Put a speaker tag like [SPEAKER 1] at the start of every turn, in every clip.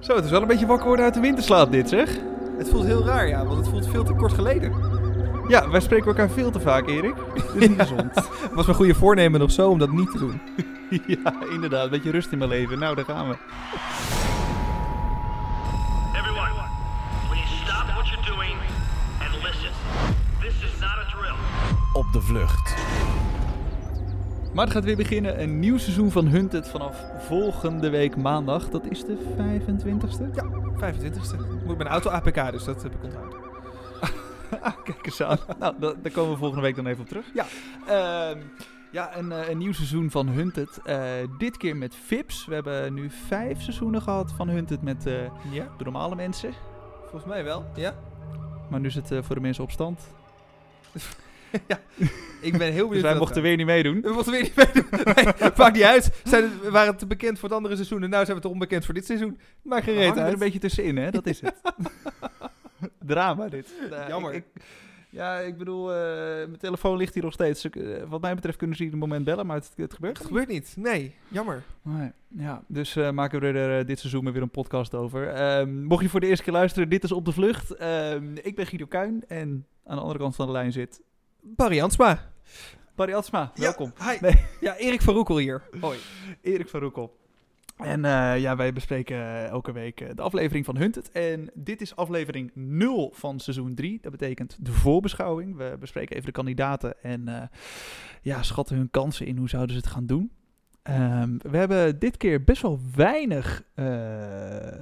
[SPEAKER 1] Zo, het is wel een beetje wakker worden uit de winterslaap dit, zeg.
[SPEAKER 2] Het voelt heel raar, ja, want het voelt veel te kort geleden.
[SPEAKER 1] Ja, wij spreken elkaar veel te vaak, Erik. Dit is niet gezond.
[SPEAKER 2] Het was mijn goede voornemen nog zo om dat niet te doen.
[SPEAKER 1] ja, inderdaad. Een beetje rust in mijn leven. Nou, daar gaan we.
[SPEAKER 3] Everyone, please stop what you're doing and listen. This is not a drill.
[SPEAKER 4] Op de vlucht.
[SPEAKER 1] Maar het gaat weer beginnen. Een nieuw seizoen van Hunted vanaf volgende week maandag. Dat is de 25ste.
[SPEAKER 2] 25ste. Moet ik mijn auto APK, dus dat heb ik onthouden.
[SPEAKER 1] Ah, kijk eens aan. Nou, da- daar komen we volgende week dan even op terug.
[SPEAKER 2] Ja.
[SPEAKER 1] Ehm, ja, een, eh, een nieuw seizoen van Hunted. Eh, dit keer met Vips. We hebben nu vijf seizoenen gehad van Hunted met eh,
[SPEAKER 2] Ja,
[SPEAKER 1] de normale mensen.
[SPEAKER 2] volgens mij wel. Ja.
[SPEAKER 1] Maar nu is het eh, voor de mensen op stand.
[SPEAKER 2] Ik ben heel benieuwd.
[SPEAKER 1] Dus wij mochten weer niet meedoen.
[SPEAKER 2] We mochten weer niet meedoen. Nee, maakt niet uit. Zijn het- we waren te bekend voor het andere seizoen en nu zijn we te onbekend voor dit seizoen. Maakt geen
[SPEAKER 1] We
[SPEAKER 2] reet
[SPEAKER 1] hangen er een
[SPEAKER 2] uit.
[SPEAKER 1] beetje tussenin, hè? Dat is het. Drama dit. Nou,
[SPEAKER 2] Jammer.
[SPEAKER 1] ik- ik- ja, ik bedoel, eh, mijn telefoon ligt hier nog steeds. Eh, wat mij betreft kunnen ze ieder moment bellen, maar het, het gebeurt
[SPEAKER 2] Het gebeurt niet. Nee, jammer.
[SPEAKER 1] Nee, ja. Dus eh, maken we er eh, dit seizoen weer een podcast over. Ehm, mocht je voor de eerste keer luisteren, dit is Op de Vlucht. Ehm, ik ben Guido Kuin en aan de andere kant van de lijn zit
[SPEAKER 2] Barry Jansma.
[SPEAKER 1] Barry Atsma. Welkom.
[SPEAKER 2] Ja, hi.
[SPEAKER 1] Nee.
[SPEAKER 2] ja Erik van Roekel hier. Hoi.
[SPEAKER 1] Erik van Roekel. En eh, ja, wij bespreken eh, elke week eh, de aflevering van Hunted. En dit is aflevering 0 van seizoen 3. Dat betekent de voorbeschouwing. We bespreken even de kandidaten en eh, ja, schatten hun kansen in. Hoe zouden ze het gaan doen? Ehm, we hebben dit keer best wel weinig eh,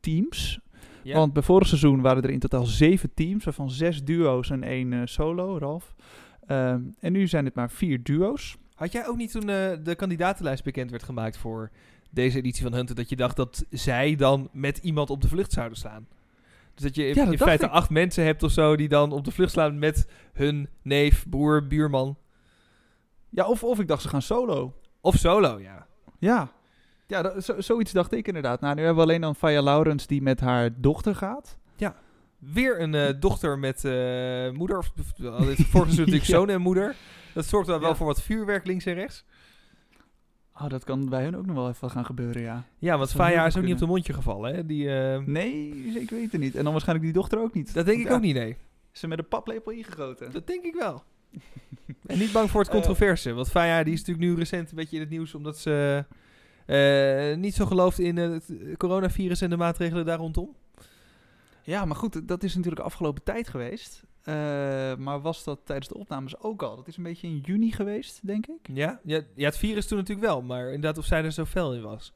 [SPEAKER 1] teams.
[SPEAKER 2] Ja.
[SPEAKER 1] Want bij vorig seizoen waren er in totaal zeven teams, waarvan zes duo's en één eh, solo, Ralf. Ehm, en nu zijn het maar vier duo's.
[SPEAKER 2] Had jij ook niet toen eh, de kandidatenlijst bekend werd gemaakt voor deze editie van Hunter, dat je dacht dat zij dan met iemand op de vlucht zouden slaan? Dus dat je in,
[SPEAKER 1] Ja, dat
[SPEAKER 2] in
[SPEAKER 1] dacht
[SPEAKER 2] feite
[SPEAKER 1] ik.
[SPEAKER 2] acht mensen hebt of zo die dan op de vlucht slaan met hun neef, broer, buurman
[SPEAKER 1] Ja, of, of ik dacht ze gaan solo.
[SPEAKER 2] of solo, ja.
[SPEAKER 1] Ja. Ja, dat- zo, zoiets dacht ik inderdaad. Nou, nu hebben we alleen dan Faya Laurens die met haar dochter gaat.
[SPEAKER 2] Weer een eh, dochter met eh, moeder, of of- al dit vorige seizoen natuurlijk
[SPEAKER 1] Ja.
[SPEAKER 2] zoon en moeder. Dat zorgt dan wel
[SPEAKER 1] Ja.
[SPEAKER 2] voor wat vuurwerk links en rechts.
[SPEAKER 1] Oh, dat kan bij hun ook nog wel even gaan gebeuren, ja.
[SPEAKER 2] Ja, want
[SPEAKER 1] zou heel
[SPEAKER 2] Faya
[SPEAKER 1] goed
[SPEAKER 2] is ook niet op de
[SPEAKER 1] kunnen.
[SPEAKER 2] mondje gevallen, hè? Die, eh,
[SPEAKER 1] Nee, zeker weten niet. En dan waarschijnlijk die dochter ook niet.
[SPEAKER 2] Dat denk
[SPEAKER 1] Want
[SPEAKER 2] ik
[SPEAKER 1] ja,
[SPEAKER 2] ook niet, nee.
[SPEAKER 1] Ze met een paplepel ingegoten.
[SPEAKER 2] Dat denk ik wel. en niet bang voor het
[SPEAKER 1] Eh.
[SPEAKER 2] controverse. want Faya die is natuurlijk nu recent een beetje in het nieuws omdat ze eh, niet zo gelooft in eh, het coronavirus en de maatregelen daar rondom.
[SPEAKER 1] Ja, maar goed, dat is natuurlijk afgelopen tijd geweest. Eh, maar was dat tijdens de opnames ook al? Dat is een beetje in juni geweest, denk ik.
[SPEAKER 2] Ja, ja, ja het virus toen natuurlijk wel, maar inderdaad of zij er zo fel in was.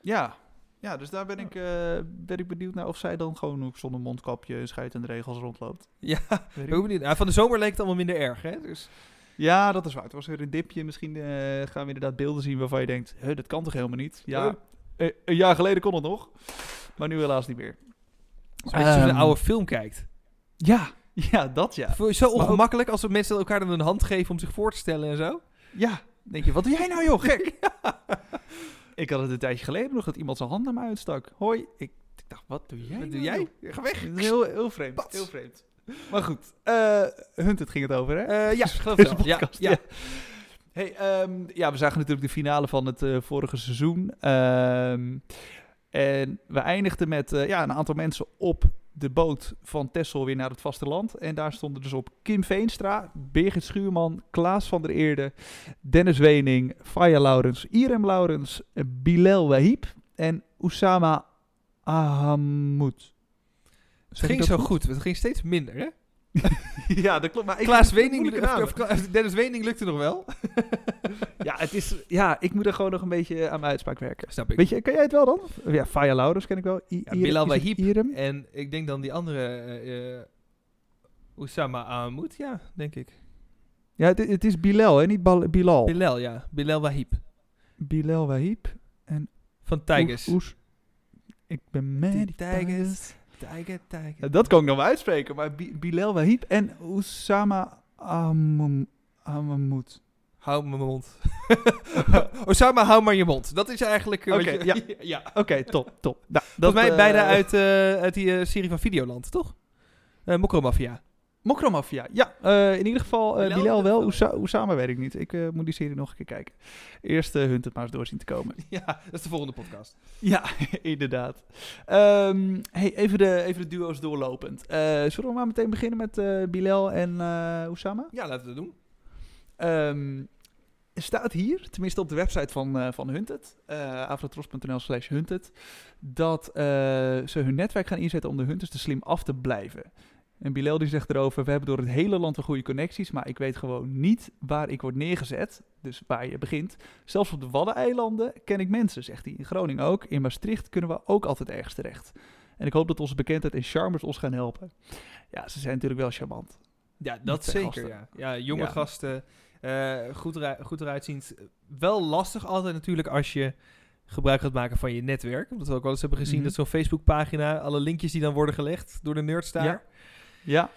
[SPEAKER 1] Ja. Ja, dus daar ben ik, eh, ben ik benieuwd naar of zij dan gewoon ook zonder mondkapje en scheid en de regels rondloopt.
[SPEAKER 2] Ja,
[SPEAKER 1] Weet
[SPEAKER 2] Ik
[SPEAKER 1] ik
[SPEAKER 2] ben ook benieuwd. Ja, van de zomer leek het allemaal minder erg, hè? Dus,
[SPEAKER 1] Ja, dat is waar. Het was weer een dipje. Misschien eh, gaan we inderdaad beelden zien waarvan je denkt, "Huh, dat kan toch helemaal niet? Ja,
[SPEAKER 2] Huh?
[SPEAKER 1] eh, een jaar geleden kon het nog, maar nu helaas niet meer.
[SPEAKER 2] het is een beetje alsof je
[SPEAKER 1] Ehm.
[SPEAKER 2] een oude film kijkt.
[SPEAKER 1] Ja, ja, dat ja.
[SPEAKER 2] Voel je Zo
[SPEAKER 1] ook-
[SPEAKER 2] ongemakkelijk als mensen elkaar dan een hand geven om zich voor te stellen en zo.
[SPEAKER 1] Ja, denk je, wat doe jij nou joh, gek? Ik had het een tijdje geleden nog dat iemand zijn hand naar me uitstak. Hoi, ik, ik dacht, wat doe jij
[SPEAKER 2] Wat doe
[SPEAKER 1] nou,
[SPEAKER 2] jij?
[SPEAKER 1] joh?
[SPEAKER 2] Ga weg.
[SPEAKER 1] Het is heel, heel vreemd,
[SPEAKER 2] Pats.
[SPEAKER 1] heel vreemd. Maar goed, eh Hunt, het ging het over hè?
[SPEAKER 2] Eh, ja, geloof
[SPEAKER 1] Deze
[SPEAKER 2] ik wel. Ja,
[SPEAKER 1] podcast,
[SPEAKER 2] ja.
[SPEAKER 1] ja. Hey, ehm, ja, we zagen natuurlijk de finale van het eh, vorige seizoen. Ehm, en we eindigden met eh, ja, een aantal mensen op de boot van Texel weer naar het vasteland. En daar stonden dus op Kim Veenstra, Birgit Schuurman, Klaas van der Eerde, Dennis Wening, Faya Laurens, Irem Laurens, eh, Bilal Wahib en Oussama Ahamoud.
[SPEAKER 2] Het ging zo goed. Het ging steeds minder, hè?
[SPEAKER 1] Ja, dat klopt. Maar ik-
[SPEAKER 2] Klaas Wening,
[SPEAKER 1] moeilijke namen.
[SPEAKER 2] of- of- Dennis Wening lukte nog wel.
[SPEAKER 1] Ja, het is, ja, ik moet er gewoon nog een beetje aan mijn uitspraak werken.
[SPEAKER 2] Snap ik.
[SPEAKER 1] Weet je, kan jij het wel dan? Ja, Faya Laurens ken ik wel. I
[SPEAKER 2] Ja,
[SPEAKER 1] Irem-
[SPEAKER 2] Bilal
[SPEAKER 1] is het
[SPEAKER 2] Wahib.
[SPEAKER 1] Irem?
[SPEAKER 2] En ik denk dan die andere, eh, eh Oussama Ahmoud, ja, denk ik.
[SPEAKER 1] Ja, het, het is Bilal, hè? niet Bal- Bilal.
[SPEAKER 2] Bilal, ja. Bilal Wahib.
[SPEAKER 1] Bilal Wahib.
[SPEAKER 2] Van Tigers.
[SPEAKER 1] Oes- oes. Ik ben mad.
[SPEAKER 2] Die
[SPEAKER 1] die Tigers.
[SPEAKER 2] Tiger, Tiger.
[SPEAKER 1] Ja, dat kan ik nog wel uitspreken, maar Bi- Bilal Wahib en Oussama Amam- Amamoud.
[SPEAKER 2] Hou mijn mond. Oussama, hou maar je mond. Dat is eigenlijk... eh, wat
[SPEAKER 1] Oké,
[SPEAKER 2] je-
[SPEAKER 1] ja.
[SPEAKER 2] ja.
[SPEAKER 1] Oké, top, top. Nou,
[SPEAKER 2] Volgens mij
[SPEAKER 1] eh,
[SPEAKER 2] beide uit, eh, uit die eh, serie van Videoland, toch? Eh Mokromafia.
[SPEAKER 1] Mokromafia, ja. eh, in ieder geval, eh
[SPEAKER 2] Bilal?
[SPEAKER 1] Bilal wel, Ousa- Oussama weet ik niet. Ik eh, moet die serie nog een keer kijken. Eerst eh, Hunt het maar eens door zien te komen.
[SPEAKER 2] Ja, dat is de volgende podcast.
[SPEAKER 1] Ja, inderdaad. Ehm, hey, even, de, even de duo's doorlopend. Eh, zullen we maar meteen beginnen met eh, Bilal en eh Oussama?
[SPEAKER 2] Ja, laten we dat doen.
[SPEAKER 1] Ehm, er staat hier, tenminste op de website van, eh van Hunted, eh afrotros.nl slash Hunted, dat eh, ze hun netwerk gaan inzetten om de hunters te slim af te blijven. En Bilal die zegt erover, we hebben door het hele land een goede connecties, maar ik weet gewoon niet waar ik word neergezet, dus waar je begint. Zelfs op de Waddeneilanden ken ik mensen, zegt hij. In Groningen ook, in Maastricht kunnen we ook altijd ergens terecht. En ik hoop dat onze bekendheid en charmers ons gaan helpen. Ja, ze zijn natuurlijk wel charmant.
[SPEAKER 2] Ja, dat
[SPEAKER 1] twee gasten.
[SPEAKER 2] zeker. Ja. ja, jonge
[SPEAKER 1] Ja.
[SPEAKER 2] gasten. eh, goed, eruit, goed eruitziend. Wel lastig altijd natuurlijk als je gebruik gaat maken van je netwerk. Omdat we ook wel eens hebben gezien
[SPEAKER 1] Mhm.
[SPEAKER 2] dat zo'n Facebookpagina... alle linkjes die dan worden gelegd door de nerds daar...
[SPEAKER 1] Ja. Ja,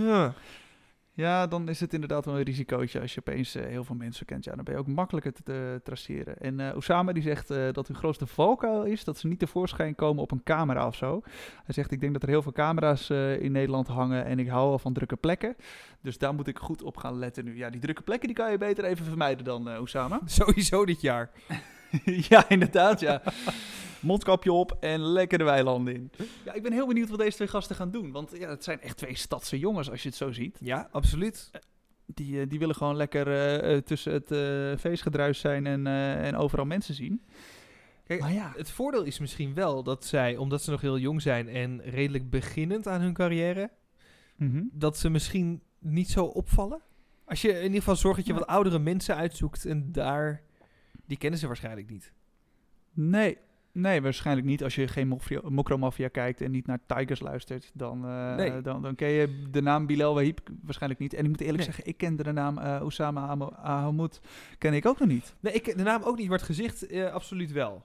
[SPEAKER 2] Ja.
[SPEAKER 1] Ja, dan is het inderdaad wel een risicootje als je opeens eh, heel veel mensen kent. Ja, dan ben je ook makkelijker te, te traceren. En eh Osama die zegt eh, dat hun grootste valkuil is dat ze niet tevoorschijn komen op een camera of zo. Hij zegt, ik denk dat er heel veel camera's eh, in Nederland hangen en ik hou al van drukke plekken. Dus daar moet ik goed op gaan letten nu. Ja, die drukke plekken die kan je beter even vermijden dan eh Osama.
[SPEAKER 2] Sowieso dit jaar.
[SPEAKER 1] ja, inderdaad, ja. Mondkapje op en lekker de weilanden in. Ja, ik ben heel benieuwd wat deze twee gasten gaan doen. Want ja, het zijn echt twee stadse jongens als je het zo ziet.
[SPEAKER 2] Ja, absoluut.
[SPEAKER 1] Die, eh, die willen gewoon lekker eh, eh, tussen het eh, feestgedruis zijn en, eh, en overal mensen zien.
[SPEAKER 2] Kijk,
[SPEAKER 1] maar ja,
[SPEAKER 2] Het voordeel is misschien wel dat zij, omdat ze nog heel jong zijn... en redelijk beginnend aan hun carrière...
[SPEAKER 1] mhm.
[SPEAKER 2] dat ze misschien niet zo opvallen. Als je in ieder geval zorgt dat je
[SPEAKER 1] Nee.
[SPEAKER 2] wat oudere mensen uitzoekt... en daar... die kennen ze waarschijnlijk niet.
[SPEAKER 1] nee, nee, waarschijnlijk niet. Als je geen Mofrio- Mokromafia kijkt en niet naar Tigers luistert, dan, eh,
[SPEAKER 2] Nee.
[SPEAKER 1] dan, dan ken je de naam Bilal Wahib waarschijnlijk niet. En ik moet eerlijk
[SPEAKER 2] Nee.
[SPEAKER 1] zeggen, ik kende de naam eh Osama Hamo- Ahamoud ken ik ook nog niet.
[SPEAKER 2] Nee, ik, de naam ook niet, maar het gezicht eh, absoluut wel.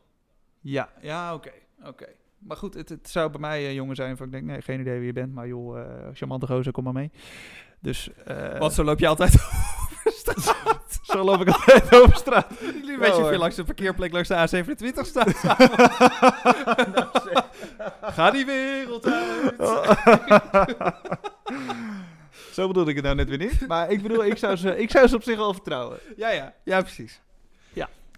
[SPEAKER 1] Ja, ja, oké, oké. Maar goed, het, het zou bij mij een jongen zijn van ik denk, nee, geen idee wie je bent, maar joh, eh charmante gozer, kom maar mee. Dus, eh,
[SPEAKER 2] Want zo loop je altijd over straat.
[SPEAKER 1] zo loop ik altijd over straat.
[SPEAKER 2] Jullie
[SPEAKER 1] Ja,
[SPEAKER 2] weet je
[SPEAKER 1] hoor.
[SPEAKER 2] veel langs de parkeerplek langs de A27 staan. Nou, Ga die wereld uit.
[SPEAKER 1] Zo bedoelde ik het nou net weer niet. Maar ik bedoel, ik zou ze, ik zou ze op zich wel vertrouwen.
[SPEAKER 2] Ja, ja. Ja, precies.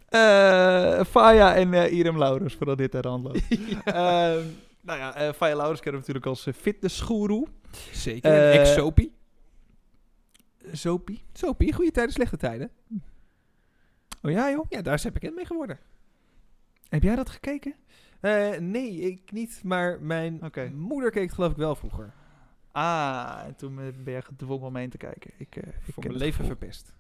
[SPEAKER 1] Eh Faya en eh, Irem Laurens, voordat dit aan de hand loopt. Ehm, nou ja, eh, Faya Laurens kennen we natuurlijk als eh, fitnessgoeroe.
[SPEAKER 2] Zeker.
[SPEAKER 1] Eh,
[SPEAKER 2] Ex-Sopie.
[SPEAKER 1] Zopie.
[SPEAKER 2] Sopie, goede tijden, slechte tijden.
[SPEAKER 1] Oh ja joh,
[SPEAKER 2] Ja, daar is hij bekend mee geworden.
[SPEAKER 1] heb jij dat gekeken?
[SPEAKER 2] Eh, nee, ik niet, maar mijn
[SPEAKER 1] Oké.
[SPEAKER 2] moeder keek het geloof ik wel vroeger.
[SPEAKER 1] Ah, en toen eh, ben je gedwongen om heen te kijken. Ik, eh, ik
[SPEAKER 2] Voor
[SPEAKER 1] ken
[SPEAKER 2] mijn
[SPEAKER 1] het
[SPEAKER 2] leven
[SPEAKER 1] gevoel.
[SPEAKER 2] verpest.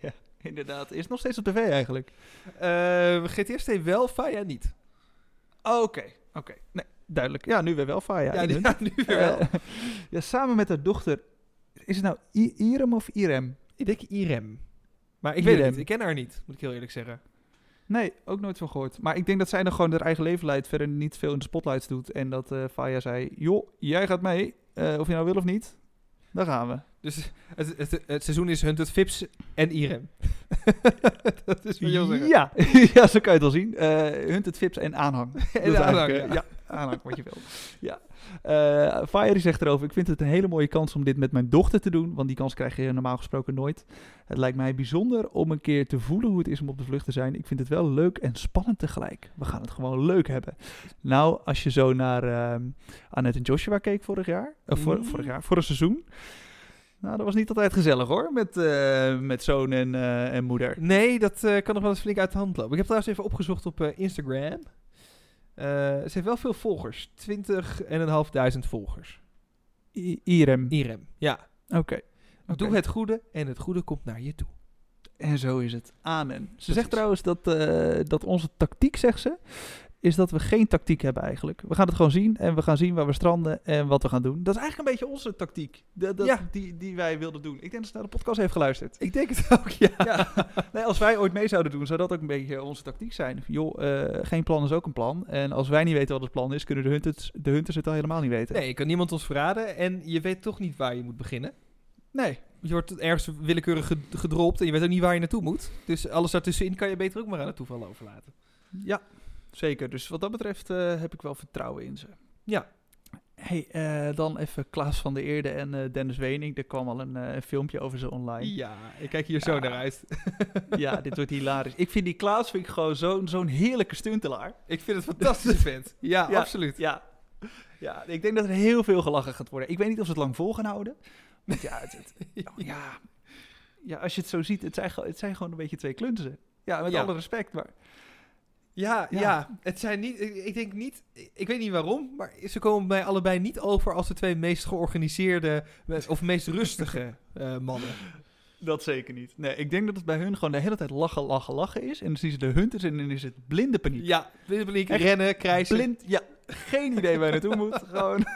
[SPEAKER 1] ja, inderdaad. Is nog steeds op tv eigenlijk.
[SPEAKER 2] Eh GTST wel, Faya niet.
[SPEAKER 1] Oké, oké. Nee, duidelijk. Ja, nu weer wel Faya.
[SPEAKER 2] ja,
[SPEAKER 1] Irem.
[SPEAKER 2] die- ja, nu weer wel.
[SPEAKER 1] Eh, ja, samen met haar dochter. Is het nou I- Irem of Irem?
[SPEAKER 2] ik denk Irem. Maar ik weet het
[SPEAKER 1] Irem.
[SPEAKER 2] niet, ik ken haar niet, moet ik heel eerlijk zeggen.
[SPEAKER 1] Nee, ook nooit van gehoord. Maar ik denk dat zij dan gewoon haar eigen leven leidt, verder niet veel in de spotlights doet. En dat eh Faya zei: joh, jij gaat mee, eh, of je nou wil of niet, daar gaan we.
[SPEAKER 2] Dus het, het, het seizoen is Hunted Vips en Irem. dat is wat je wil zeggen.
[SPEAKER 1] Ja. ja, zo kan je het wel zien. Eh Hunt het Vips en aanhang. Dat is
[SPEAKER 2] aanhang,
[SPEAKER 1] eigenlijk, eh,
[SPEAKER 2] ja.
[SPEAKER 1] ja. aanhang, wat je wil. Ja. Eh Fire die zegt erover, ik vind het een hele mooie kans om dit met mijn dochter te doen, want die kans krijg je normaal gesproken nooit. Het lijkt mij bijzonder om een keer te voelen hoe het is om op de vlucht te zijn. Ik vind het wel leuk en spannend tegelijk. We gaan het gewoon leuk hebben. Nou, als je zo naar ehm, Annette en Joshua keek vorig jaar, eh, voor,
[SPEAKER 2] Mm.
[SPEAKER 1] vorig jaar, vorig seizoen. Nou, dat was niet altijd gezellig hoor, met, eh, met zoon en, eh, en moeder.
[SPEAKER 2] Nee, dat eh, kan nog wel eens flink uit de hand lopen. Ik heb trouwens even opgezocht op eh, Instagram. Eh, ze heeft wel veel volgers. 20.500 volgers.
[SPEAKER 1] I- Irem.
[SPEAKER 2] Irem, ja.
[SPEAKER 1] Oké.
[SPEAKER 2] Doe het goede en het goede komt naar je toe.
[SPEAKER 1] En zo is het. Amen. Ze
[SPEAKER 2] Precies.
[SPEAKER 1] zegt trouwens dat, eh, dat onze tactiek, zegt ze, is dat we geen tactiek hebben eigenlijk. We gaan het gewoon zien en we gaan zien waar we stranden en wat we gaan doen. Dat is eigenlijk een beetje onze tactiek dat, dat-
[SPEAKER 2] Ja.
[SPEAKER 1] die, die wij wilden doen. Ik denk dat ze naar de podcast heeft geluisterd.
[SPEAKER 2] Ik denk het ook, ja.
[SPEAKER 1] Nee, als wij ooit mee zouden doen, zou dat ook een beetje onze tactiek zijn. Joh, eh, geen plan is ook een plan. En als wij niet weten wat het plan is, kunnen de hunters, de hunters het al helemaal niet weten.
[SPEAKER 2] Nee, je kan niemand ons verraden en je weet toch niet waar je moet beginnen.
[SPEAKER 1] Nee.
[SPEAKER 2] Je wordt ergens willekeurig ged- gedropt en je weet ook niet waar je naartoe moet. Dus alles daartussenin kan je beter ook maar aan het toeval overlaten.
[SPEAKER 1] Ja, zeker. Dus wat dat betreft eh, heb ik wel vertrouwen in ze.
[SPEAKER 2] Ja.
[SPEAKER 1] Hé, hey, eh, dan even Klaas van der Eerde en eh, Dennis Wening. Er kwam al een, eh, een filmpje over ze online.
[SPEAKER 2] Ja, ik kijk hier zo
[SPEAKER 1] Ja.
[SPEAKER 2] naar uit.
[SPEAKER 1] ja, dit wordt hilarisch. Ik vind die Klaas vind ik gewoon zo'n zo'n heerlijke stuntelaar.
[SPEAKER 2] Ik vind het een fantastische vent. Ja,
[SPEAKER 1] Ja.
[SPEAKER 2] absoluut.
[SPEAKER 1] Ja. ja, ik denk dat er heel veel gelachen gaat worden. Ik weet niet of ze het lang vol gaan houden. Want ja, het, het- ja. ja, als je het zo ziet, het zijn, gewoon- het zijn gewoon een beetje twee klunzen. Ja, met
[SPEAKER 2] Ja.
[SPEAKER 1] alle respect, maar...
[SPEAKER 2] Ja, ja.
[SPEAKER 1] Ja.
[SPEAKER 2] Het zijn niet, ik, ik denk niet, ik ik weet niet waarom, maar ze komen bij allebei niet over als de twee meest georganiseerde of meest rustige eh, mannen.
[SPEAKER 1] Dat zeker niet. Nee, ik denk dat het bij hun gewoon de hele tijd lachen, lachen, lachen is. En dan zien ze de hunters en dan is het blinde paniek.
[SPEAKER 2] Ja, blind paniek,
[SPEAKER 1] Echt
[SPEAKER 2] rennen, krijsen.
[SPEAKER 1] Blind, ja, geen idee waar je naartoe moet. Gewoon...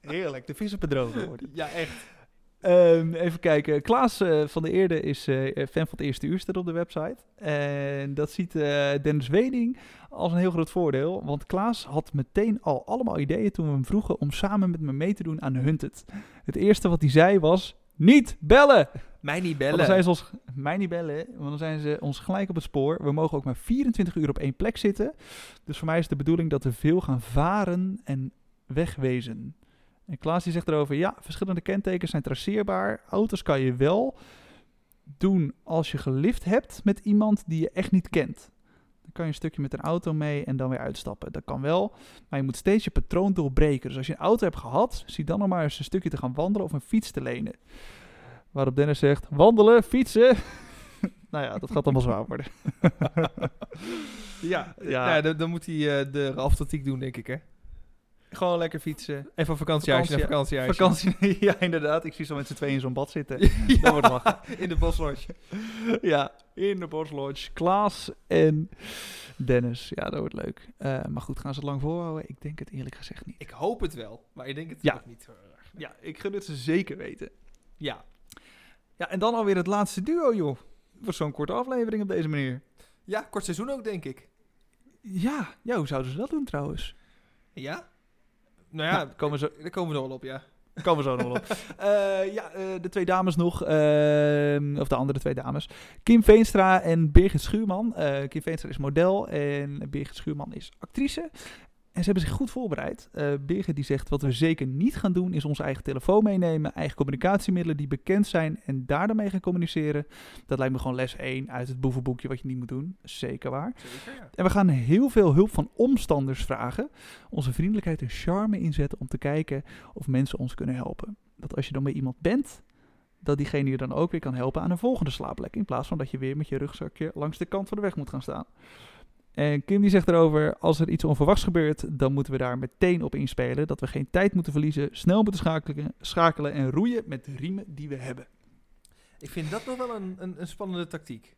[SPEAKER 1] Heerlijk, de vis op het droge worden.
[SPEAKER 2] Ja, echt.
[SPEAKER 1] Ehm, even kijken. Klaas eh, van der Eerde is eh, fan van het eerste uur, staat op de website. En dat ziet eh, Dennis Wening als een heel groot voordeel. Want Klaas had meteen al allemaal ideeën toen we hem vroegen om samen met me mee te doen aan Hunted. Het eerste wat hij zei was, niet bellen!
[SPEAKER 2] Mij niet
[SPEAKER 1] Want
[SPEAKER 2] bellen.
[SPEAKER 1] dan zijn ze ons, mij niet bellen, want dan zijn ze ons gelijk op het spoor. We mogen ook maar 24 uur op één plek zitten. Dus voor mij is de bedoeling dat we veel gaan varen en wegwezen. En Klaas die zegt erover, ja, verschillende kentekens zijn traceerbaar. Auto's kan je wel doen als je gelift hebt met iemand die je echt niet kent. Dan kan je een stukje met een auto mee en dan weer uitstappen. Dat kan wel, maar je moet steeds je patroon doorbreken. Dus als je een auto hebt gehad, zie dan nog maar eens een stukje te gaan wandelen of een fiets te lenen. Waarop Dennis zegt: wandelen, fietsen. nou ja, dat gaat allemaal zwaar worden.
[SPEAKER 2] Ja,
[SPEAKER 1] Ja.
[SPEAKER 2] Nou, dan, dan moet hij eh, de Ralf Tatiek doen, denk ik, hè.
[SPEAKER 1] Gewoon lekker fietsen.
[SPEAKER 2] Even op vakantiehuisje naar vakantiehuisje.
[SPEAKER 1] Vakantie, ja, inderdaad. Ik zie zo met z'n tweeën in zo'n bad zitten. Dat wordt lachen.
[SPEAKER 2] in de boslodge.
[SPEAKER 1] Ja, in de Boslodge. Klaas en Dennis. Ja, dat wordt leuk. Eh, maar goed, gaan ze het lang volhouden? Ik denk het eerlijk gezegd niet.
[SPEAKER 2] Ik hoop het wel, maar ik denk het
[SPEAKER 1] Ja.
[SPEAKER 2] ook niet. heel erg.
[SPEAKER 1] Ja, ik gun het ze zeker weten.
[SPEAKER 2] Ja.
[SPEAKER 1] Ja, en dan alweer het laatste duo, joh. Voor zo'n korte aflevering op deze manier.
[SPEAKER 2] ja, kort seizoen ook, denk ik.
[SPEAKER 1] Ja, ja hoe zouden ze dat doen trouwens?
[SPEAKER 2] Ja? Nou ja,
[SPEAKER 1] Nou, komen ze
[SPEAKER 2] daar komen we nog wel op, ja.
[SPEAKER 1] Komen we zo nog wel op. Eh, ja, eh, de twee dames nog. eh, of de andere twee dames. Kim Veenstra en Birgit Schuurman. Eh, Kim Veenstra is model en Birgit Schuurman is actrice. En ze hebben zich goed voorbereid. Eh, Birgit die zegt, wat we zeker niet gaan doen is onze eigen telefoon meenemen. Eigen communicatiemiddelen die bekend zijn en daar dan mee gaan communiceren. Dat lijkt me gewoon les 1 uit het boevenboekje wat je niet moet doen. Zeker waar.
[SPEAKER 2] Zeker, ja.
[SPEAKER 1] En we gaan heel veel hulp van omstanders vragen. Onze vriendelijkheid en charme inzetten om te kijken of mensen ons kunnen helpen. Dat als je dan bij iemand bent, dat diegene je dan ook weer kan helpen aan een volgende slaapplek. In plaats van dat je weer met je rugzakje langs de kant van de weg moet gaan staan. En Kim die zegt erover, als er iets onverwachts gebeurt, dan moeten we daar meteen op inspelen. Dat we geen tijd moeten verliezen, snel moeten schakelen, schakelen en roeien met de riemen die we hebben.
[SPEAKER 2] Ik vind dat nog wel een, een, een spannende tactiek.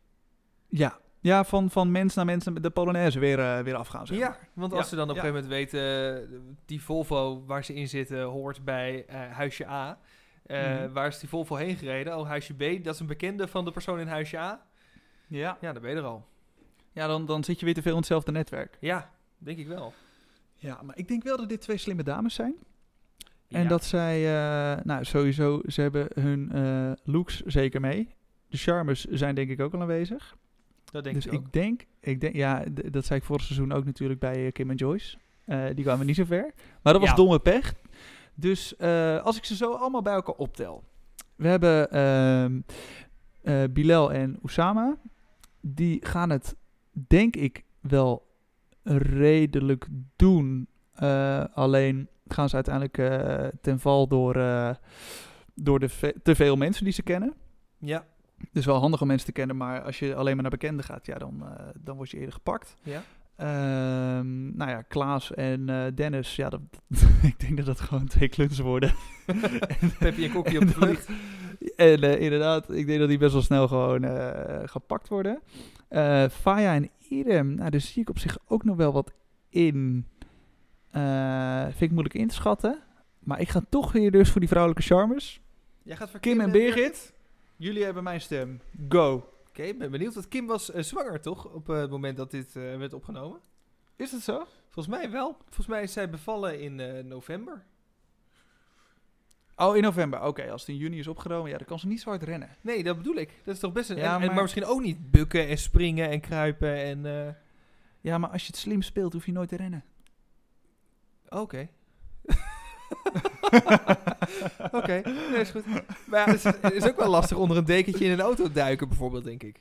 [SPEAKER 1] Ja, ja van, van mens naar mens de Polonaise weer, eh, weer afgaan. Zeg maar.
[SPEAKER 2] Ja, want als
[SPEAKER 1] Ja,
[SPEAKER 2] ze dan op
[SPEAKER 1] ja.
[SPEAKER 2] een gegeven moment weten, eh, die Volvo waar ze in zitten hoort bij eh, huisje A. Eh,
[SPEAKER 1] Mhm.
[SPEAKER 2] Waar is die Volvo heen gereden? Oh, huisje B, dat is een bekende van de persoon in huisje A.
[SPEAKER 1] ja.
[SPEAKER 2] Ja, daar ben je er al.
[SPEAKER 1] Ja, dan, dan zit je weer te veel in hetzelfde netwerk.
[SPEAKER 2] Ja, denk ik wel.
[SPEAKER 1] Ja, maar ik denk wel dat dit twee slimme dames zijn. En
[SPEAKER 2] Ja.
[SPEAKER 1] dat zij, eh, nou sowieso, ze hebben hun eh, looks zeker mee. De charmes zijn denk ik ook al aanwezig.
[SPEAKER 2] dat denk
[SPEAKER 1] dus
[SPEAKER 2] ik
[SPEAKER 1] ik,
[SPEAKER 2] ook.
[SPEAKER 1] denk, ik denk, ja, d- dat zei ik vorig seizoen ook natuurlijk bij eh, Kim en Joyce. Eh, die kwamen niet zo ver. Maar dat was
[SPEAKER 2] Ja.
[SPEAKER 1] domme pech. Dus eh, als ik ze zo allemaal bij elkaar optel. We hebben ehm, eh, Bilal en Oussama. Die gaan het, denk ik, wel redelijk doen. Eh, alleen gaan ze uiteindelijk eh, ten val door, eh, door de ve- te veel mensen die ze kennen.
[SPEAKER 2] Ja,
[SPEAKER 1] Dus wel handig om mensen te kennen, maar als je alleen maar naar bekenden gaat, ja, dan, eh, dan word je eerder gepakt.
[SPEAKER 2] ja.
[SPEAKER 1] Ehm, nou ja, Klaas en eh, Dennis, ja, dat, ik denk dat dat gewoon twee klunsen worden.
[SPEAKER 2] Peppy en Kokkie op de
[SPEAKER 1] En dan-
[SPEAKER 2] vlucht.
[SPEAKER 1] En eh, inderdaad, ik denk dat die best wel snel gewoon eh, gepakt worden. Eh Faya en Irem, nou, daar zie ik op zich ook nog wel wat in. Eh, vind ik moeilijk in te schatten. Maar ik ga toch weer dus voor die vrouwelijke charmers.
[SPEAKER 2] Jij gaat voor
[SPEAKER 1] Kim en
[SPEAKER 2] met-
[SPEAKER 1] Birgit, jullie hebben mijn stem. Go.
[SPEAKER 2] Oké, ik ben benieuwd. Want Kim was eh, zwanger, toch? Op eh, het moment dat dit eh, werd opgenomen.
[SPEAKER 1] Is dat zo?
[SPEAKER 2] Volgens mij wel. Volgens mij is zij bevallen in eh, november.
[SPEAKER 1] Oh, in november. Oké, als het in juni is opgenomen, ja, dan kan ze niet zo hard rennen.
[SPEAKER 2] Nee, dat bedoel ik. Dat is toch best een...
[SPEAKER 1] Ja,
[SPEAKER 2] en- en, maar...
[SPEAKER 1] maar-
[SPEAKER 2] misschien ook niet bukken en springen en kruipen en... eh,
[SPEAKER 1] Ja, maar als je het slim speelt, hoef je nooit te rennen.
[SPEAKER 2] Oké. Oké, nee, is goed. Maar ja, het is, het is ook wel lastig onder een dekentje in een auto duiken bijvoorbeeld, denk ik.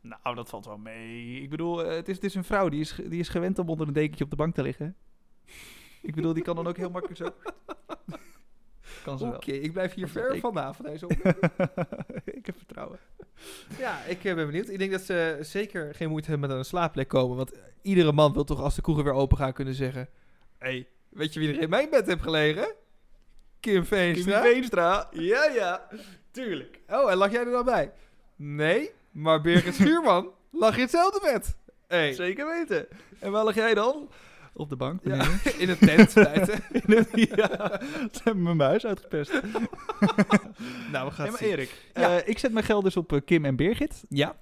[SPEAKER 1] Nou, dat valt wel mee. Ik bedoel, eh, het is, het is een vrouw. Die is, ge- die is gewend om onder een dekentje op de bank te liggen. Ik bedoel, die kan dan ook heel makkelijk zo... kan ze
[SPEAKER 2] Oké,
[SPEAKER 1] wel.
[SPEAKER 2] ik blijf hier
[SPEAKER 1] Want
[SPEAKER 2] ver
[SPEAKER 1] ik-
[SPEAKER 2] vanaf. Deze
[SPEAKER 1] ik heb vertrouwen.
[SPEAKER 2] ja, ik eh, ben benieuwd. Ik denk dat ze zeker geen moeite hebben met aan een slaapplek komen. Want eh, iedere man wil toch als de kroegen weer open gaan kunnen zeggen... Hé, hey, weet je wie er in mijn bed heeft gelegen? Kim Veenstra.
[SPEAKER 1] Veenstra.
[SPEAKER 2] Ja, ja. Tuurlijk. Oh, en lag jij er dan bij? Nee, maar Birgit Schuurman lag in hetzelfde bed. Hey.
[SPEAKER 1] Zeker weten. En waar lag jij dan? Op de bank.
[SPEAKER 2] Ja,
[SPEAKER 1] beneden.
[SPEAKER 2] in een tent buiten.
[SPEAKER 1] ja, ze hebben mijn muis uitgepest.
[SPEAKER 2] nou, we gaan
[SPEAKER 1] Hey,
[SPEAKER 2] het
[SPEAKER 1] maar
[SPEAKER 2] zien.
[SPEAKER 1] Erik,
[SPEAKER 2] Ja.
[SPEAKER 1] eh, ik zet mijn geld dus op eh, Kim en Birgit.
[SPEAKER 2] Ja,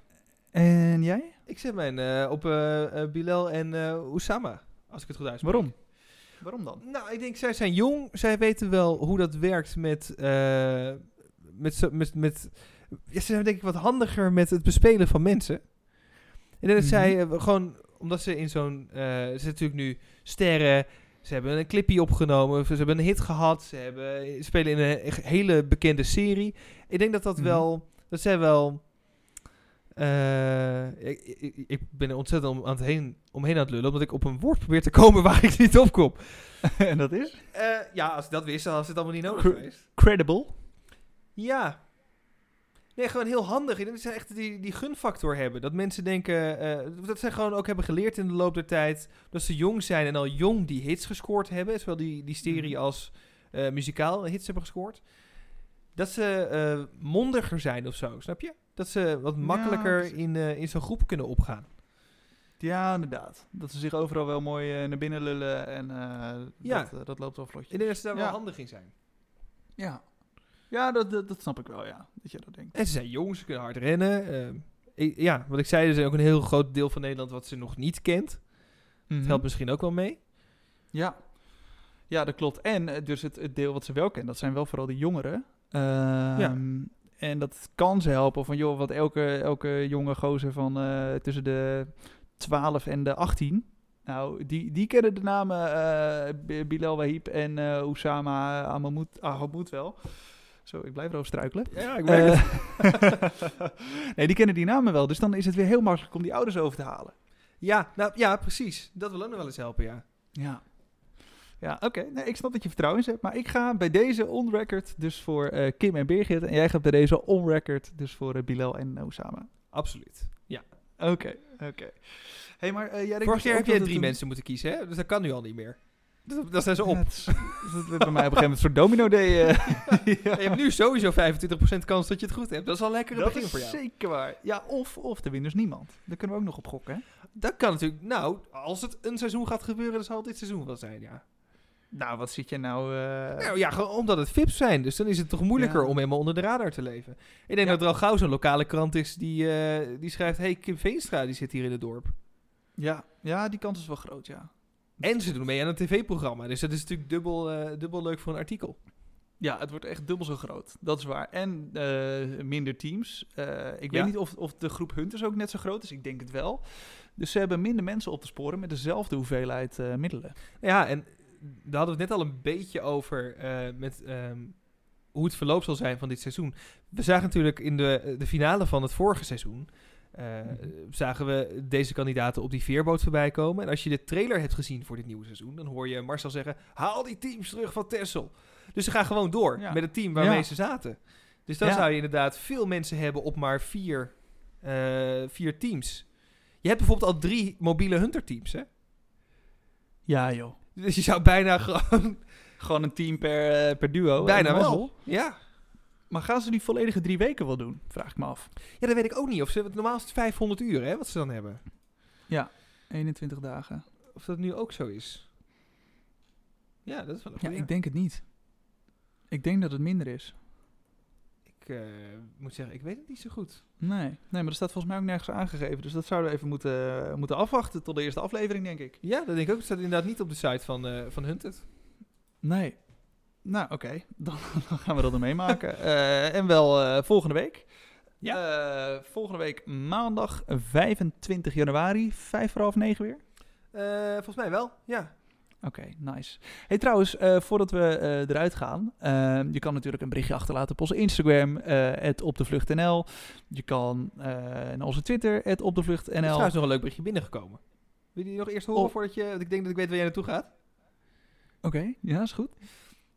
[SPEAKER 1] En jij?
[SPEAKER 2] ik zet mijn eh, op eh, eh, Bilal en eh Oussama, als ik het goed uitspreek.
[SPEAKER 1] Dus Waarom? Waarom dan?
[SPEAKER 2] Nou, ik denk, zij zijn jong. Zij weten wel hoe dat werkt met... eh, met, zo- met, met ja, ze zijn denk ik wat handiger met het bespelen van mensen. En dat
[SPEAKER 1] Mhm.
[SPEAKER 2] zij eh, gewoon... Omdat ze in zo'n... eh, ze zijn natuurlijk nu sterren. Ze hebben een clipje opgenomen. Ze hebben een hit gehad. Ze hebben, spelen in een echt hele bekende serie. Ik denk dat dat
[SPEAKER 1] Mhm.
[SPEAKER 2] wel... Dat zij wel... eh, ik, ik, ik ben er ontzettend om, aan het heen, omheen aan het lullen. Omdat ik op een woord probeer te komen waar ik niet op kom.
[SPEAKER 1] en dat is?
[SPEAKER 2] Eh, ja, als ik dat wist, dan was het allemaal niet nodig
[SPEAKER 1] Cr-
[SPEAKER 2] geweest.
[SPEAKER 1] Credible.
[SPEAKER 2] Ja. Nee, gewoon heel handig. Ik denk dat ze echt die, die gunfactor hebben. Dat mensen denken... eh, dat zij gewoon ook hebben geleerd in de loop der tijd... dat ze jong zijn en al jong die hits gescoord hebben. Zowel die, die serie
[SPEAKER 1] Mhm.
[SPEAKER 2] als eh, muzikaal hits hebben gescoord. Dat ze eh, mondiger zijn of zo, snap je? Dat ze wat makkelijker
[SPEAKER 1] precies.
[SPEAKER 2] in, eh, in zo'n groep kunnen opgaan.
[SPEAKER 1] Ja, inderdaad. Dat ze zich overal wel mooi eh, naar binnen lullen en eh,
[SPEAKER 2] Ja.
[SPEAKER 1] dat, eh, dat loopt wel vlotje.
[SPEAKER 2] Ik denk dat ze daar
[SPEAKER 1] Ja.
[SPEAKER 2] wel handig in zijn.
[SPEAKER 1] Ja, ja dat, dat, dat snap ik wel, ja. Dat je dat denkt.
[SPEAKER 2] En ze zijn jong, ze kunnen hard rennen. Ehm, ik- ja, wat ik zei, er is ook een heel groot deel van Nederland wat ze nog niet kent.
[SPEAKER 1] Mhm.
[SPEAKER 2] Het helpt misschien ook wel mee.
[SPEAKER 1] Ja. ja, dat klopt. En eh, dus het, het deel wat ze wel kennen, dat zijn wel vooral de jongeren. Ehm,
[SPEAKER 2] Ja.
[SPEAKER 1] En dat kan ze helpen van, joh, wat elke, elke jonge gozer van eh, tussen de 12 en de 18... Nou, die, die kennen de namen eh, B- Bilal Wahib en eh Oussama Ahmad Ahmad wel. Zo, ik blijf erover struikelen.
[SPEAKER 2] Ja, ik
[SPEAKER 1] Eh, nee, die kennen die namen wel. Dus dan is het weer heel makkelijk om die ouders over te halen.
[SPEAKER 2] ja, nou, ja, precies. Dat wil ook nog wel eens helpen, ja.
[SPEAKER 1] Ja. Ja, oké. Nee, ik snap dat je vertrouwen in ze hebt. Maar ik ga bij deze on-record dus voor eh, Kim en Birgit. En jij gaat bij deze on-record dus voor eh, Bilal en Osama.
[SPEAKER 2] Absoluut.
[SPEAKER 1] Oké, oké. hey, maar eh, jij denkt
[SPEAKER 2] Vorig
[SPEAKER 1] dus
[SPEAKER 2] jaar
[SPEAKER 1] ook dat
[SPEAKER 2] heb je
[SPEAKER 1] het
[SPEAKER 2] drie
[SPEAKER 1] een-
[SPEAKER 2] mensen moeten kiezen, hè? Dus dat kan nu al niet meer. Dat, dat zijn ze op.
[SPEAKER 1] Ja, het is- dat werd bij mij op een gegeven moment voor domino day. eh.
[SPEAKER 2] Je hebt nu sowieso 25% kans dat je het goed hebt. Dat is al lekker een
[SPEAKER 1] dat
[SPEAKER 2] begin
[SPEAKER 1] is
[SPEAKER 2] voor jou.
[SPEAKER 1] zeker waar. Ja, of, of er wint dus niemand. Daar kunnen we ook nog op gokken, hè?
[SPEAKER 2] Dat kan natuurlijk... Nou, als het een seizoen gaat gebeuren, dan zal het dit seizoen wel zijn, ja.
[SPEAKER 1] Nou, wat zit je nou... eh,
[SPEAKER 2] Nou ja, gewoon omdat het VIP's zijn. Dus dan is het toch moeilijker
[SPEAKER 1] Ja.
[SPEAKER 2] om helemaal onder de radar te leven. Ik denk
[SPEAKER 1] Ja.
[SPEAKER 2] dat er al gauw zo'n lokale krant is die, eh, die schrijft... hey, Kim Veenstra, die zit hier in het dorp.
[SPEAKER 1] Ja, ja, die kans is wel groot, ja.
[SPEAKER 2] En ze doen mee aan een tv-programma. Dus dat is natuurlijk dubbel, eh, dubbel leuk voor een artikel.
[SPEAKER 1] Ja, het wordt echt dubbel zo groot. Dat is waar. En eh, minder teams. Eh, ik
[SPEAKER 2] Ja.
[SPEAKER 1] weet niet of, of de groep Hunters ook net zo groot is. Ik denk het wel. Dus ze hebben minder mensen op te sporen met dezelfde hoeveelheid eh, middelen.
[SPEAKER 2] Ja, en daar hadden we het net al een beetje over eh, met ehm, hoe het verloop zal zijn van dit seizoen. We zagen natuurlijk in de, de finale van het vorige seizoen, eh,
[SPEAKER 1] Mhm.
[SPEAKER 2] zagen we deze kandidaten op die veerboot voorbij komen. En als je de trailer hebt gezien voor dit nieuwe seizoen, dan hoor je Marcel zeggen, haal die teams terug van Tessel. Dus ze gaan gewoon door
[SPEAKER 1] Ja.
[SPEAKER 2] met het team waarmee
[SPEAKER 1] Ja.
[SPEAKER 2] ze zaten. Dus dan
[SPEAKER 1] Ja.
[SPEAKER 2] zou je inderdaad veel mensen hebben op maar vier, eh, vier teams. Je hebt bijvoorbeeld al drie mobiele hunterteams, hè?
[SPEAKER 1] Ja, joh.
[SPEAKER 2] Dus je zou bijna gewoon
[SPEAKER 1] Gewoon een team per, eh, per duo.
[SPEAKER 2] Bijna
[SPEAKER 1] En
[SPEAKER 2] wel.
[SPEAKER 1] mazzel.
[SPEAKER 2] Ja.
[SPEAKER 1] Maar gaan ze die volledige drie weken wel doen? Vraag ik me af.
[SPEAKER 2] ja, dat weet ik ook niet. Of ze, want normaal is het 500 uur, hè, wat ze dan hebben.
[SPEAKER 1] 21 dagen.
[SPEAKER 2] Of dat nu ook zo is. Ja, dat is wel een
[SPEAKER 1] Ja,
[SPEAKER 2] goeie.
[SPEAKER 1] ik denk het niet. Ik denk dat het minder is.
[SPEAKER 2] Ik, eh, moet zeggen, ik weet het niet zo goed.
[SPEAKER 1] Nee. nee, maar dat staat volgens mij ook nergens aangegeven. Dus dat zouden we even moeten, moeten afwachten tot de eerste aflevering, denk ik.
[SPEAKER 2] Ja, dat denk ik ook. Het staat inderdaad niet op de site van, eh van Hunted.
[SPEAKER 1] Nee. Nou, oké. Dan, dan gaan we dat er meemaken. Eh, en wel eh, volgende week.
[SPEAKER 2] Ja.
[SPEAKER 1] Eh, volgende week maandag 25 januari, vijf voor half negen weer.
[SPEAKER 2] Eh, volgens mij wel, ja.
[SPEAKER 1] Oké, nice. Hey, trouwens, eh, voordat we eh, eruit gaan, eh, je kan natuurlijk een berichtje achterlaten op onze Instagram, eh, het op de vlucht NL. Je kan eh, naar onze Twitter, het op de vlucht
[SPEAKER 2] Er is
[SPEAKER 1] NL.
[SPEAKER 2] trouwens nog een leuk berichtje binnengekomen. Wil je die nog eerst horen
[SPEAKER 1] Oh.
[SPEAKER 2] voordat je... Want ik denk dat ik weet waar jij naartoe gaat.
[SPEAKER 1] Oké, ja, is goed.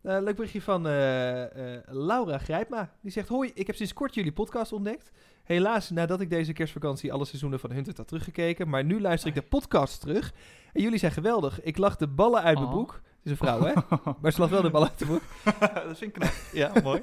[SPEAKER 2] Eh, leuk berichtje van eh, eh, Laura Grijpma. Die zegt: Hoi, ik heb sinds kort jullie podcast ontdekt. Helaas, nadat ik deze kerstvakantie alle seizoenen van Hunted had teruggekeken. Maar nu luister ik de podcast terug. En jullie zijn geweldig. Ik lag de ballen uit mijn
[SPEAKER 1] Oh.
[SPEAKER 2] boek. Het is een vrouw, hè? Maar ze lag wel de ballen uit de boek.
[SPEAKER 1] dat vind ik knap. Ja, mooi.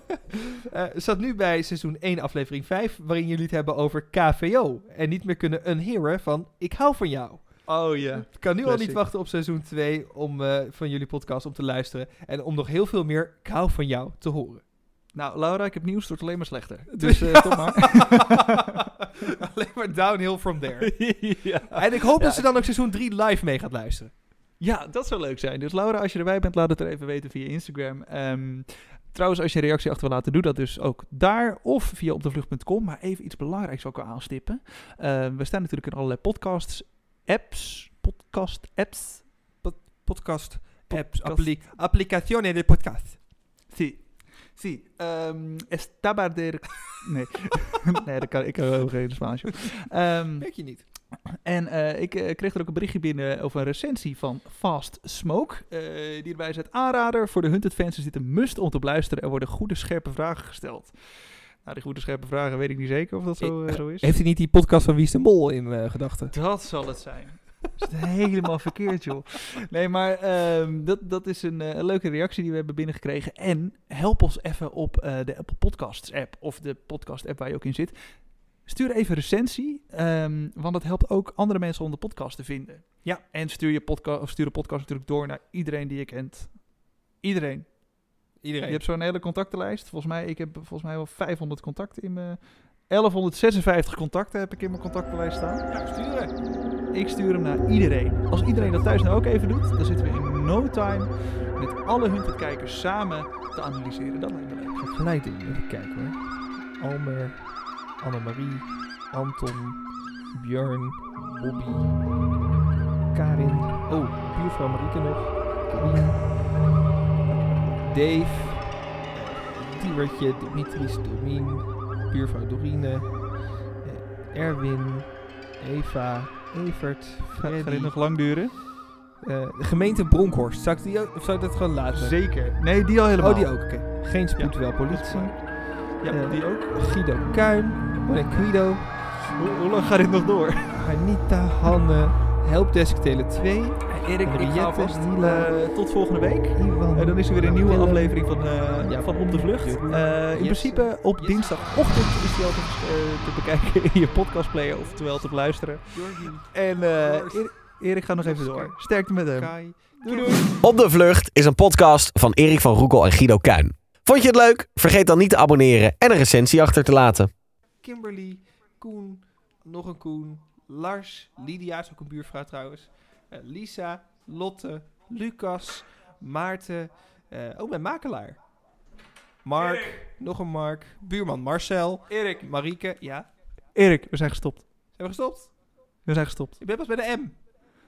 [SPEAKER 2] Eh, zat nu bij seizoen 1, aflevering 5. Waarin jullie het hebben over KVO. En niet meer kunnen unhearen van: Ik hou van jou.
[SPEAKER 1] Oh ja.
[SPEAKER 2] Ik kan nu al niet
[SPEAKER 1] Classic.
[SPEAKER 2] wachten op seizoen 2 om, eh, van jullie podcast om te luisteren. En om nog heel veel meer Ik hou van jou te horen.
[SPEAKER 1] Nou, Laura, ik heb nieuws, het wordt alleen maar slechter.
[SPEAKER 2] Dus
[SPEAKER 1] Dus
[SPEAKER 2] eh,
[SPEAKER 1] eh,
[SPEAKER 2] stop
[SPEAKER 1] stop maar.
[SPEAKER 2] maar. Alleen maar downhill from there. En ik hoop dat ze dan ook seizoen 3 live mee gaat luisteren.
[SPEAKER 1] Ja, dat zou leuk zijn. Dus Laura, als je erbij bent, laat het er even weten via Instagram. Ehm, trouwens, als je een reactie achter wil laten, doe dat dus ook daar of via opdevlucht.com. Maar even iets belangrijks ook wel aanstippen. Ehm, we staan natuurlijk in allerlei podcasts, apps, podcast apps.
[SPEAKER 2] Podcast, apps,
[SPEAKER 1] Podcast.
[SPEAKER 2] appli applicazione de podcast.
[SPEAKER 1] Zie, zie. estabar de... Ehm, Nee, nee dat kan, ik heb helemaal geen Spaans. joh. Ehm,
[SPEAKER 2] Merk je niet.
[SPEAKER 1] En eh, ik eh, kreeg er ook een berichtje binnen over een recensie van Fast Smoke. eh, die erbij zet aanrader. Voor de Hunted fans is dit een must om te beluisteren. Er worden goede scherpe vragen gesteld. Nou, die goede scherpe vragen weet ik niet zeker of dat zo,
[SPEAKER 2] Ik-
[SPEAKER 1] eh, zo is.
[SPEAKER 2] Heeft hij niet die podcast van Wie is de Mol in eh, gedachten?
[SPEAKER 1] Dat zal het zijn. Dat is het helemaal verkeerd, joh. Nee, maar ehm, dat, dat is een, eh, een leuke reactie die we hebben binnengekregen. En help ons even op eh, de Apple Podcasts app of de podcast app waar je ook in zit. Stuur even recensie, ehm, want dat helpt ook andere mensen om de podcast te vinden.
[SPEAKER 2] Ja.
[SPEAKER 1] En stuur je podca- of stuur de podcast natuurlijk door naar iedereen die je kent. Iedereen.
[SPEAKER 2] Iedereen.
[SPEAKER 1] Je hebt zo'n hele contactenlijst. Volgens mij, ik heb volgens mij wel 500 contacten in mijn... 1156 contacten heb ik in mijn contactenlijst staan.
[SPEAKER 2] Ja, sturen.
[SPEAKER 1] Ik stuur hem naar iedereen. Als iedereen dat thuis nou ook even doet, dan zitten we in no time met alle Hunted-kijkers samen te analyseren. Dat lijkt me leuk.
[SPEAKER 2] Ik ga gelijk doen. Even kijken hoor. Almer, Annemarie, Anton, Björn, Bobby, Karin. Oh, buurvrouw Marieke nog. Karin. Dave, Tiewertje, Dimitris, Doreen, buurvrouw Dorine, eh, Erwin, Eva, Evert,
[SPEAKER 1] Gaat
[SPEAKER 2] Freddy.
[SPEAKER 1] dit nog lang duren?
[SPEAKER 2] eh, gemeente Bronkhorst. Zou ik, die, ook- of zou ik dat gewoon laten?
[SPEAKER 1] Zeker. Nee, die al helemaal.
[SPEAKER 2] Oh, die ook. Oké. Geen spoed,
[SPEAKER 1] Ja.
[SPEAKER 2] wel politie.
[SPEAKER 1] Ja,
[SPEAKER 2] Eh,
[SPEAKER 1] die ook.
[SPEAKER 2] Guido Kuin, Monet Guido,
[SPEAKER 1] Hoe, hoe lang gaat dit nog door?
[SPEAKER 2] Anita, Hanne, Helpdesk Tele 2,
[SPEAKER 1] Erik,
[SPEAKER 2] ik ga alvast,
[SPEAKER 1] Eh, tot volgende week.
[SPEAKER 2] Ivan.
[SPEAKER 1] En dan is er weer een nieuwe
[SPEAKER 2] Willem.
[SPEAKER 1] aflevering van, eh,
[SPEAKER 2] Ja.
[SPEAKER 1] van Op de Vlucht. Eh, in
[SPEAKER 2] Yes.
[SPEAKER 1] principe op
[SPEAKER 2] Yes.
[SPEAKER 1] dinsdagochtend is die altijd eh, te bekijken in je podcastplayer, oftewel te beluisteren. En eh, Erik- Erik gaat nog even door. Sterkte met hem.
[SPEAKER 2] Kai. Doei doei.
[SPEAKER 4] Op de Vlucht is een podcast van Erik van Roekel en Guido Kuin. Vond je het leuk? Vergeet dan niet te abonneren en een recensie achter te laten.
[SPEAKER 2] Kimberly, Koen, nog een Koen, Lars, Lydia is ook een buurvrouw trouwens, eh, Lisa, Lotte, Lucas, Maarten, eh, oh mijn makelaar, Mark, nog een Mark, buurman Marcel, Erik, Marieke, ja,
[SPEAKER 1] Erik, we zijn gestopt.
[SPEAKER 2] zijn we gestopt?
[SPEAKER 1] We zijn gestopt.
[SPEAKER 2] Ik ben pas bij de M.